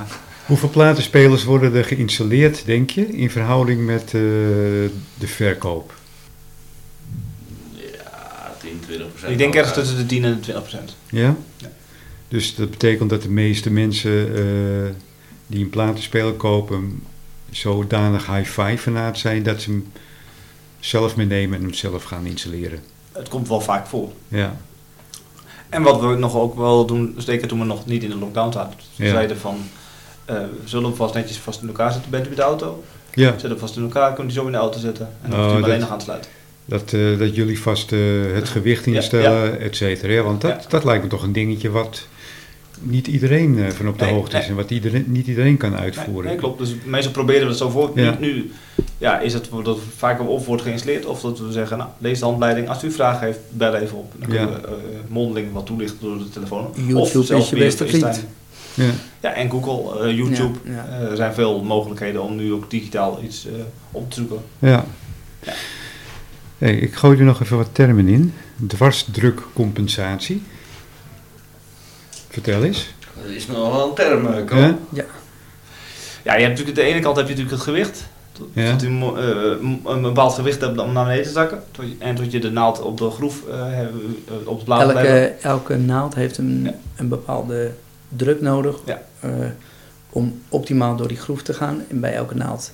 Hoeveel platenspelers worden er geïnstalleerd, denk je, in verhouding met eh, de verkoop? Ja, 10, 20 procent. ik denk ergens tussen de 10 en de 20 procent. Ja? Ja. Dus dat betekent dat de meeste mensen eh, die een platenspeler kopen zodanig hi-fi fanaat zijn dat ze hem zelf meenemen en hem zelf gaan installeren. Het komt wel vaak voor. Ja, En wat we nog ook wel doen, zeker toen we nog niet in de lockdown zaten, we Ja. zeiden van, eh, we zullen hem vast netjes vast in elkaar zetten, bent u met de auto? ja Zet hem vast in elkaar, kunt u zo in de auto zetten. En dan Oh, hoeft u hem dat- alleen nog aan te sluiten. dat, eh, dat jullie vast eh, het gewicht Ja, instellen, et cetera. Ja, want dat, dat lijkt me toch een dingetje wat niet iedereen eh, van op de Nee, hoogte is nee. en wat iedereen, niet iedereen kan Nee, uitvoeren. nee, klopt. Dus meestal proberen we het zo voor. Ja. Nu, nu ja, is het dat het vaak op wordt geïnstalleerd of dat we zeggen, nou, lees de handleiding. Als u vragen heeft, bel even op. Dan Ja. kunnen we eh, mondeling wat toelichten door de telefoon. YouTube of zelfs is je via beste FaceTime. vriend. Ja. Ja, en Google, eh, YouTube. Ja, ja. Eh, er zijn veel mogelijkheden om nu ook digitaal iets eh, op te zoeken. Ja. Ja. Hey, ik gooi er nog even wat termen in. Dwarsdrukcompensatie. Vertel eens. Dat is nog wel een term, eh, Ko. Ja? Ja, je hebt natuurlijk, aan de ene kant heb je natuurlijk het gewicht. Tot, Ja. tot u mo- eh, m- een bepaald gewicht hebt om naar beneden te zakken. Tot je- en tot je de naald op de groef eh, hebben- eh, op het blaad blijft. Elke, elke naald heeft een, Ja. een bepaalde druk nodig Ja. eh, om optimaal door die groef te gaan. En bij elke naald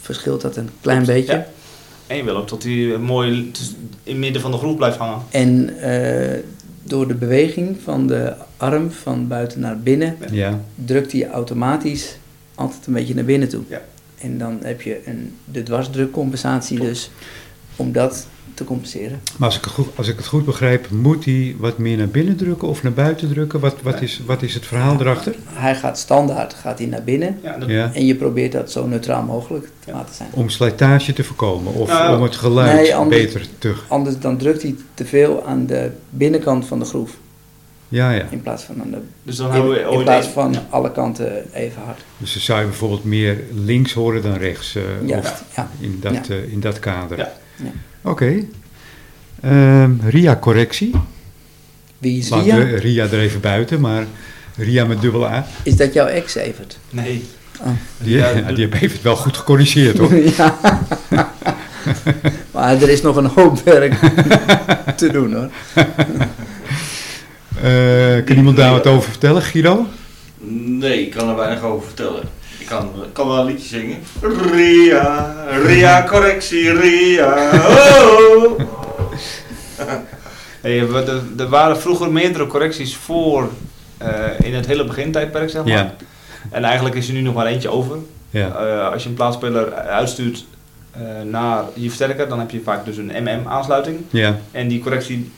verschilt dat een klein Klopt, beetje. ja. En je wil ook dat die eh, mooi tuss- in het midden van de groef blijft hangen. En eh, door de beweging van de arm van buiten naar binnen Ja. drukt hij automatisch altijd een beetje naar binnen toe. Ja. En dan heb je een, de dwarsdrukcompensatie dus. om dat te compenseren. Maar als ik, het goed, als ik het goed begrijp, moet hij wat meer naar binnen drukken of naar buiten drukken? Wat, wat, is, wat is het verhaal erachter? Hij gaat standaard gaat hij naar binnen Ja, dat, Ja. en je probeert dat zo neutraal mogelijk te Ja. laten zijn. Om slijtage te voorkomen of Nou, om het geluid nee, anders- beter te... Anders dan drukt hij te veel aan de binnenkant van de groef Ja, ja. in plaats van aan de Dus dan houden we in, in ooit plaats één- van alle kanten even hard. Dus dan zou je bijvoorbeeld meer links horen dan rechts. eh, of Juist, ja. in dat, Ja. eh, in dat kader. Ja. Ja. Oké. Ehm, Ria correctie. Wie is Laat Ria? we Ria er even buiten, maar Ria met dubbele A. Is dat jouw ex, Evert? Nee. Dus Oh. Die, Ja, ja, doe- die heeft het wel goed gecorrigeerd, hoor. ja. maar er is nog een hoop werk te doen hoor. Eh, kan iemand daar wat over vertellen, Guido? Nee, ik kan er weinig over vertellen. Ik kan, ik kan wel een liedje zingen. Ria, Ria, correctie, Ria. Oh. Hey, we- de- er waren vroeger meerdere correcties voor eh, in het hele begintijdperk, zeg maar. Ja. En eigenlijk is er nu nog maar eentje over. Ja, Eh, als je een plaatsspeler uitstuurt eh, naar je versterker, dan heb je vaak dus een MM-aansluiting. ja, En die correctie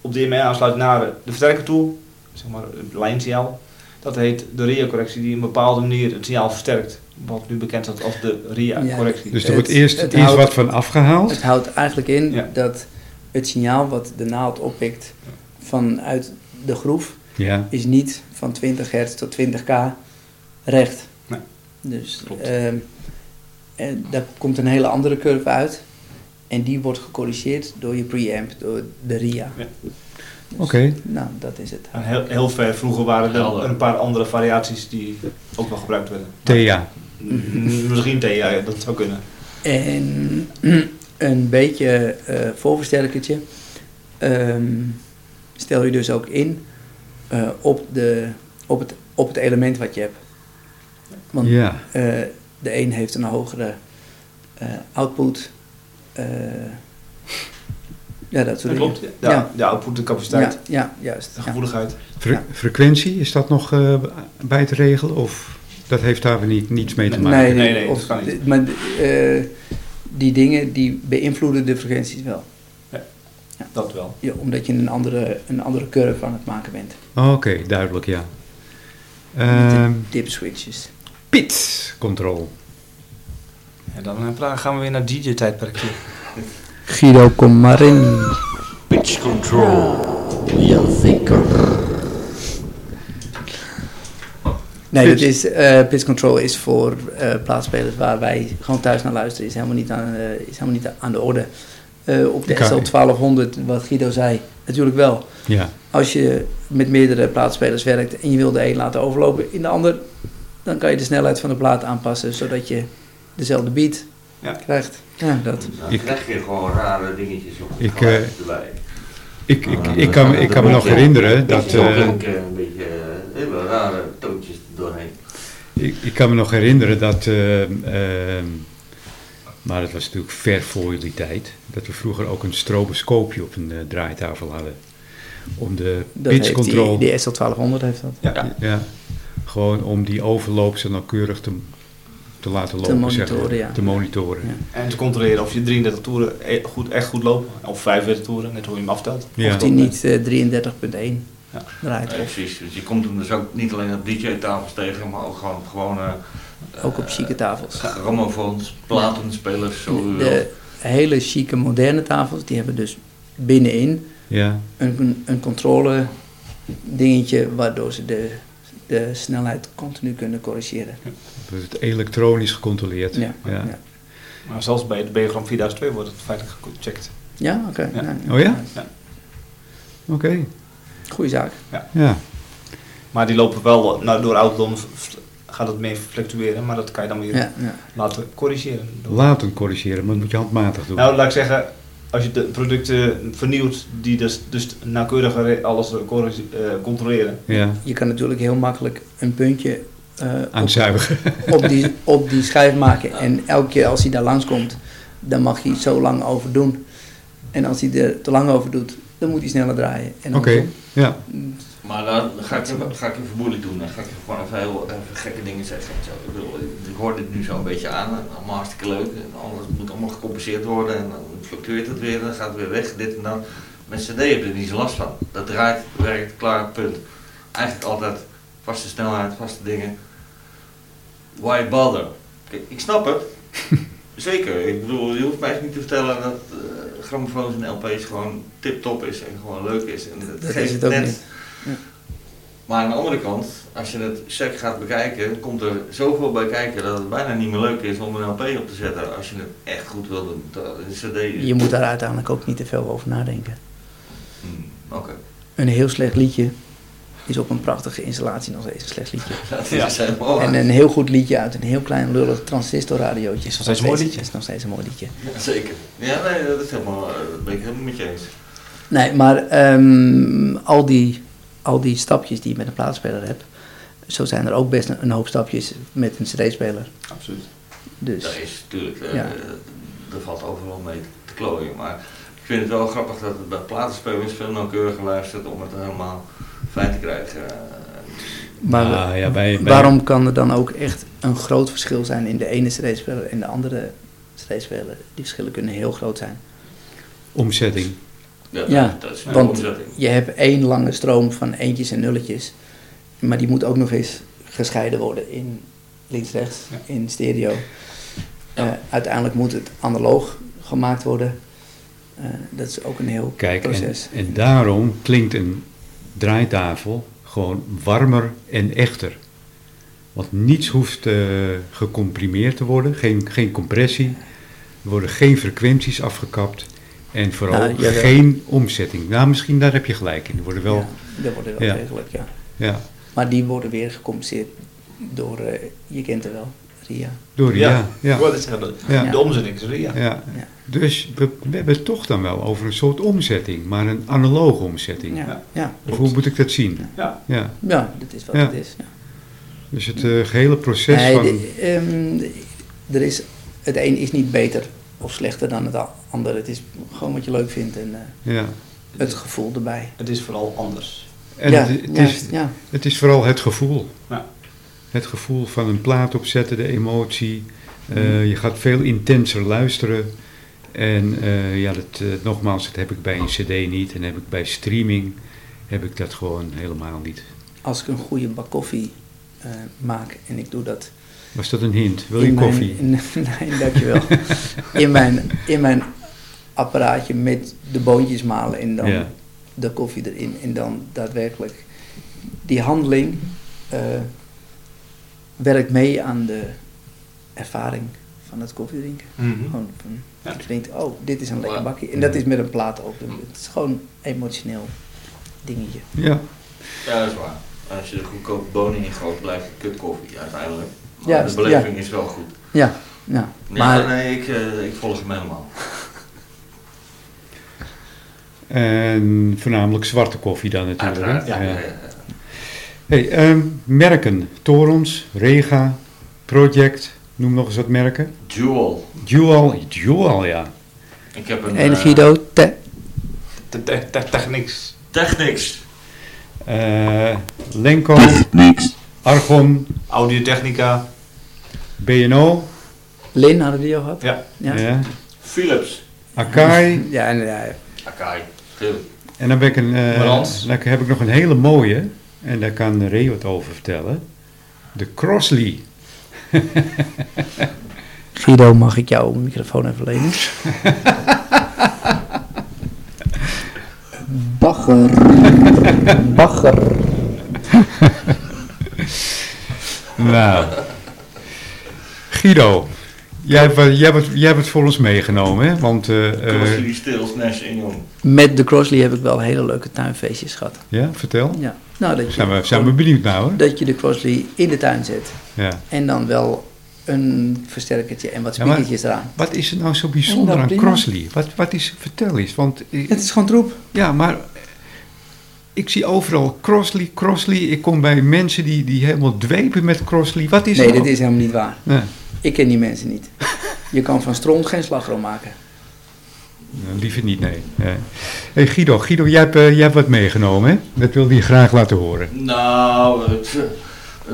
op die MM aansluit naar de versterker toe, zeg maar het lijnsignaal. Dat heet de RIA-correctie, die op een bepaalde manier het signaal versterkt. Wat nu bekend staat als de RIA-correctie. dus er Het- wordt eerst, het eerst houdt- wat van afgehaald. Het houdt eigenlijk in Ja. dat het signaal wat de naald oppikt vanuit de groef Ja, is niet van 20 hertz tot 20k recht. Nee. Dus Klopt. ehm, en daar komt een hele andere curve uit. En die wordt gecorrigeerd door je preamp, door de RIA. Ja. Dus, oké. Nou, dat is het. En heel, heel ver vroeger waren er Helder. een paar andere variaties die ook wel gebruikt werden. Thea. Mm, Misschien Thea, ja, dat zou kunnen. En een beetje eh voorversterkertje. Ehm, stel je dus ook in eh, op, de, op, het, op het element wat je hebt. Want Ja, eh, de een heeft een hogere eh, output. eh, ja, dat soort Dat dingen. klopt. Ja, Ja. de output, de capaciteit, Ja, ja, juist. de Ja. gevoeligheid. Fre- frequentie, is dat nog eh, bij te regelen? Of dat heeft daar weer niet, niets mee te maken? Nee, Nee, nee, of- dat kan niet. Maar eh, die dingen die beïnvloeden de frequenties wel. Dat wel. Ja, omdat je een andere, een andere curve aan het maken bent. Oké, duidelijk, ja. Ehm Dip switches. pit control. En dan eh, pra- gaan we weer naar DJ-tijdperk. Guido, kom maar in. Pitch control. Nee, Pitch. dat is, eh pitch control is voor eh, plaatspelers waar wij gewoon thuis naar luisteren. Is helemaal niet aan, eh, is helemaal niet aan de orde. Eh, op de Oké. SL 1200, wat Guido zei, natuurlijk wel. Ja, Als je met meerdere plaatspelers werkt en je wil de een laten overlopen in de ander, dan kan je de snelheid van de plaat aanpassen zodat je dezelfde beat Ja. krijgt. Ja, dat. Dan Ik- krijg je gewoon rare dingetjes op Ik, eh, geluid. ik, ik, ik, kan, me- ik kan me nog herinneren dat... eh, Ik een beetje eh, hele rare toontjes er doorheen. Ik, ik kan me nog herinneren dat, ehm, ehm, maar dat was natuurlijk ver voor jullie tijd, dat we vroeger ook een stroboscoopje op een eh, draaitafel hadden. Om de dat pitch heeft control, Die, die SL 1200 heeft dat. ja. gewoon om die overloop zo nauwkeurig te, te laten lopen, zeg maar, monitoren, ja. te monitoren. Ja. En te controleren of je 33 toeren e- goed, echt goed loopt. Of 35 toeren, net hoe je hem aftelt. Ja. Of die niet eh, 33.1 Ja. draait. Ja, precies. Dus je komt hem dus ook niet alleen op DJ-tafels tegen, maar ook gewoon eh, op gewone Ook op chique tafels. grammofoons, platenspelers, zo u wilt. De hele chique moderne tafels, die hebben dus binnenin Ja, een, een controle dingetje waardoor ze de, de snelheid continu kunnen corrigeren. dat wordt het elektronisch gecontroleerd. Ja, ja. Ja. Maar zelfs bij de Beogram 4002 wordt het feitelijk gecheckt. Ja, oké. Ja. nou, Oh ja? Ja. Oké, Goeie zaak. ja. Maar die lopen wel, nou, door ouderdom v- v- gaat het meer fluctueren. Maar dat kan je dan weer Ja, ja. laten corrigeren. Door- laten corrigeren, maar dat moet je handmatig doen. Nou, laat ik zeggen, als je de producten vernieuwt, die dus, dus nauwkeuriger re- alles corrige- eh, controleren. ja, Je kan natuurlijk heel makkelijk een puntje eh, aan het zuigen. op, op, die, op die schijf maken. En elke keer als hij daar langskomt, dan mag hij zo lang over doen. En als hij er te lang over doet, dan moet hij sneller draaien. En Oké, andersom. ja. Maar dan ga ik, je- ga ik je vermoedelijk doen. Dan ga ik je gewoon even heel even gekke dingen zeggen. en Zo. Ik, bedoel, ik hoor dit nu zo een beetje aan. En allemaal hartstikke leuk. En alles moet allemaal gecompenseerd worden. En dan fluctueert het weer. Dan gaat het weer weg. Dit en dat. Met cd heb je er niet zo last van. Dat draait, werkt, klaar, punt. Eigenlijk altijd vaste snelheid, vaste dingen. Why bother? Kijk, ik snap het. Zeker. Ik bedoel, je hoeft mij echt niet te vertellen dat eh grammofoons en LP's gewoon tip-top is en gewoon leuk is. En het Dat geeft is het ook net niet. maar aan de andere kant, als je het sec gaat bekijken, komt er zoveel bij kijken dat het bijna niet meer leuk is om een LP op te zetten als je het echt goed wil doen. Dat- Een CD. Je moet daar uiteindelijk ook niet te veel over nadenken. Hmm, Oké, Een heel slecht liedje is op een prachtige installatie nog steeds een slecht liedje. dat Ja. is dus helemaal waar. En een heel goed liedje uit een heel klein lullig transistorradiootje. Is nog steeds een mooi liedje. Is nog steeds een mooi liedje. Ja, Zeker. Ja, nee, dat is helemaal, eh, dat ben ik helemaal met je eens. Nee, maar ehm, al, die, al die stapjes die je met een plaatsspeler hebt, zo zijn er ook best een, een hoop stapjes met een cd-speler. Absoluut. Dus Dat is natuurlijk, eh Ja. er valt overal mee te klooien. Maar ik vind het wel grappig dat het bij platenspelers veel nauwkeuriger luistert om het helemaal fijn te krijgen. Eh, maar Ah, ja, bij- bij- waarom kan er dan ook echt een groot verschil zijn in de ene cd-speler en de andere cd-speler? Die verschillen kunnen heel groot zijn. Omzetting. Ja, dat, Ja, dat is een want- omzetting. Je hebt één lange stroom van eentjes en nulletjes, maar die moet ook nog eens gescheiden worden in links-rechts, in stereo. Eh, uiteindelijk moet het analoog gemaakt worden. Eh, dat is ook een heel Kijk, en, proces. en daarom klinkt een draaitafel gewoon warmer en echter. Want niets hoeft eh, gecomprimeerd te worden, geen, geen compressie, er worden geen frequenties afgekapt en vooral Nou, jawel. geen omzetting. Nou, misschien daar heb je gelijk in. Er worden wel, Ja, dat wordt wel Ja. degelijk, ja. ja, Maar die worden weer gecompenseerd door, eh, je kent er wel, Ria. door ja. Ja, Ik wou net zeggen, dat- Ja. De omzetting is er, ja. ja. Ja. Dus we, we hebben het toch dan wel over een soort omzetting, maar een analoge omzetting. Ja, ja. Of hoe moet ik dat zien? Ja. Ja. ja dat is wat Ja. het is. Ja. Dus het eh, gehele proces Nee, van... de- ehm, de- er is, het een is niet beter of slechter dan het a- ander. Het is gewoon wat je leuk vindt en eh, ja. het gevoel erbij. Het is vooral anders. En ja, het, het is, juist, ja. Het is vooral het gevoel. Ja. Het gevoel van een plaat opzetten, de emotie. Eh, je gaat veel intenser luisteren. En eh, ja, dat, eh, nogmaals, dat heb ik bij een cd niet. En heb ik bij streaming, heb ik dat gewoon helemaal niet. Als ik een goede bak koffie eh, maak en ik doe dat... Was dat een hint? Wil je in mijn- koffie? in- nee, dankjewel. in, mijn, in mijn apparaatje met de boontjes malen en dan Ja. de koffie erin. En dan daadwerkelijk die handeling eh, werkt mee aan de ervaring van het koffiedrinken. Gewoon van, Ja. ik denk, oh, dit is een lekker Ja. bakje. En dat is met een plaat ook. Het is gewoon een emotioneel dingetje. Ja, Ja, dat is waar. Als je er goedkope bonen in gooit, blijft het kut koffie uiteindelijk. Maar Ja, de dus- beleving is wel goed. Ja, ja. Nee, maar nee, ik, eh, ik volg hem helemaal. en voornamelijk zwarte koffie dan natuurlijk. hè? Uiteraard. Ja, Ja. ja, ja. Hey, ehm, merken, Torons, Rega, Project, noem nog eens wat merken. Dual. Dual, Dual ja. Ik heb een... en eh, Guido, te, Te- te- te- Technics. Technics. Eh, Lenko, Argon, Audiotechnica. BNO, Lin hadden we die al gehad. Ja. ja. Ja. Philips. eh, Akai. Ja, en, ja, Akai. Philips. En dan, ben ik een, eh, Balans. dan heb ik nog een hele mooie. En daar kan Ray wat over vertellen. De Crossley. Guido, mag ik jouw microfoon even lenen? Bagger. Bagger. Nou. Guido. Jij, hebt wat- jij, hebt wat- jij hebt het voor ons meegenomen, hè? Want, eh, eh, Crossley, Stills, Nash en Young. Met de Crossley heb ik wel hele leuke tuinfeestjes gehad. ja, vertel. Ja. Nou, dat je, Zijn we, zijn we benieuwd nou, hè? dat je de Crossley in de tuin zet. Ja. En dan wel een versterkertje en wat Ja, maar- spiegeltjes eraan. Wat is er nou zo bijzonder Nou, aan prima. Crossley? Wat, wat is, vertel eens, want... eh, Het is gewoon troep. Ja, maar ik zie overal Crossley, Crossley. Ik kom bij mensen die, die helemaal dwepen met Crossley. Wat is Nee, er dit nou- is helemaal niet waar. Nee. Ik ken die mensen niet. Je kan van stront geen slagroom maken. Liever niet, nee. nee. Hey Guido, Guido jij, hebt, eh, jij hebt wat meegenomen, hè? Dat wilde je graag laten horen. Nou, het, eh,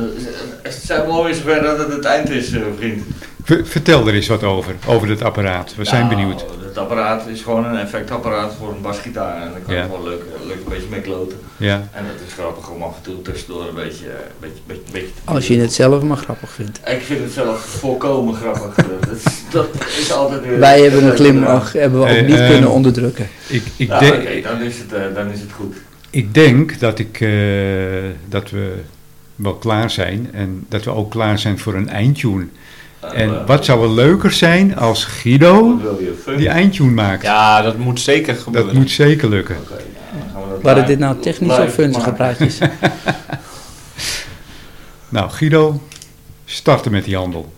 het zijn mooi zover dat het het eind is, eh, vriend. Ver- vertel er eens wat over, over dat apparaat. We zijn Nou, benieuwd. Het apparaat is gewoon een effectapparaat voor een basgitaar. En daar kan Ja. je gewoon leuk, leuk een beetje mee kloten. Ja. En het is grappig om af en toe tussendoor een beetje, eh, beetje, beetje, beetje te Als je het zelf maar grappig vindt. Ik vind het zelf volkomen grappig. dat, is, dat is altijd weer... Wij hebben een leuk glimlach, hebben we Hey, ook niet ehm, kunnen onderdrukken. Ik, ik, Nou, denk- Oké, dan, is het, eh, dan is het goed. ik denk dat, ik, eh, dat we wel klaar zijn en dat we ook klaar zijn voor een eindtune. En Eh, wat zou er leuker zijn als Guido wat wil je? Fun? die eindtune maakt? Ja, dat moet zeker gebeuren. Dat moet zeker lukken. Oké, nou, dan gaan we dat Waren live- dit nou technisch live of funzige maken. praatjes? Nou, Guido, starten met die handel.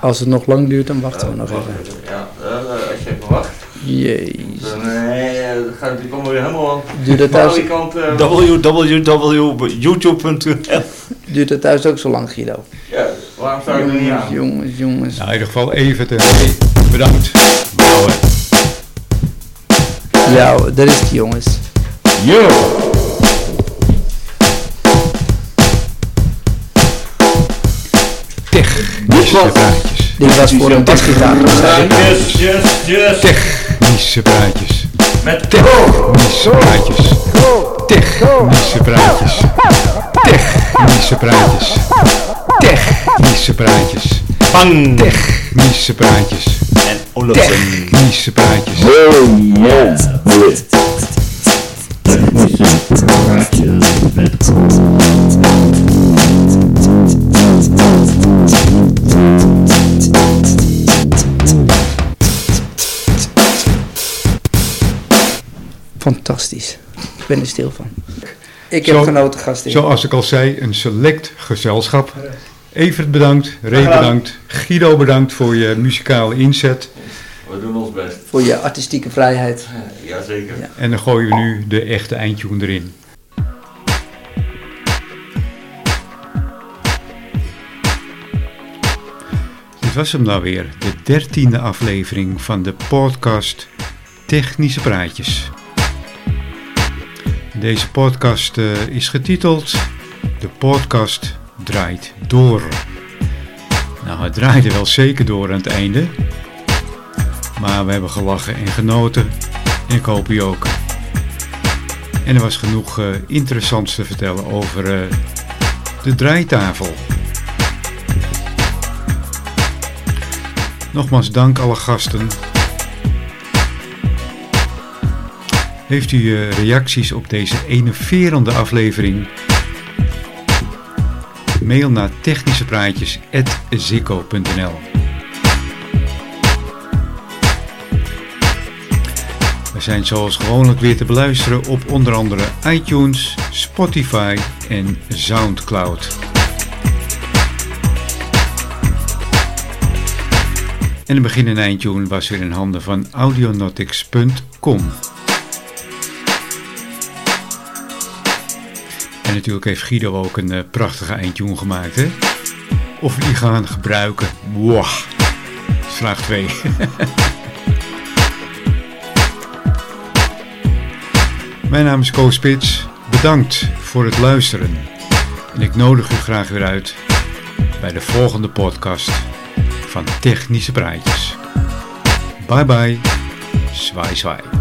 Als het nog lang duurt, dan wachten we nog Eh, wacht even. Ja, eh, als je even wacht. Jeez. Dan eh, dan gaat het die komen weer helemaal Duurt het aan alle thuis, kanten. eh, www.youtube.nl duurt het thuis ook zo lang, Guido? Ja, waarom zou ik er niet Jongens, aan? jongens, jongens. Nou, in ieder geval even te... Bedankt. Nou, eh, Ja, daar is die jongens. Yo! Technische praatjes. Dit was voor een basgitaar. Yes, yes, yes. Technische praatjes. Met Technische praatjes. Technische praatjes. Technische praatjes. Technische praatjes. Bang! Technische praatjes. En Olofsen. Technische praatjes. Fantastisch. Ik ben er stil van. Ik Zo- heb genoten, gasten. Zoals ik al zei, een select gezelschap. Evert bedankt, Ray bedankt, Guido bedankt voor je muzikale inzet. We doen ons best. Voor je artistieke vrijheid. Jazeker. Ja. En dan gooien we nu de echte eindtune erin. Dit was hem nou weer, de dertiende aflevering van de podcast Technische Praatjes. Deze podcast eh, is getiteld De podcast draait door. Nou, het draaide wel zeker door aan het einde. Maar we hebben gelachen en genoten. En ik hoop u ook. En er was genoeg eh, interessants te vertellen over eh, de draaitafel. Nogmaals dank alle gasten. Heeft u eh, reacties op deze enerverende aflevering? Mail naar technischepraatjes.zikko.nl We zijn zoals gewoonlijk weer te beluisteren op onder andere iTunes, Spotify en SoundCloud. En het begin en eindtune was weer in handen van audionautics.com. En natuurlijk heeft Guido ook een eh, prachtige eindtune gemaakt, hè? Of we die gaan gebruiken. Wow. Vraag 2. Mijn naam is Koos Spits. Bedankt voor het luisteren. En ik nodig u graag weer uit bij de volgende podcast van Technische Praatjes. Bye bye. Zwaai zwaai.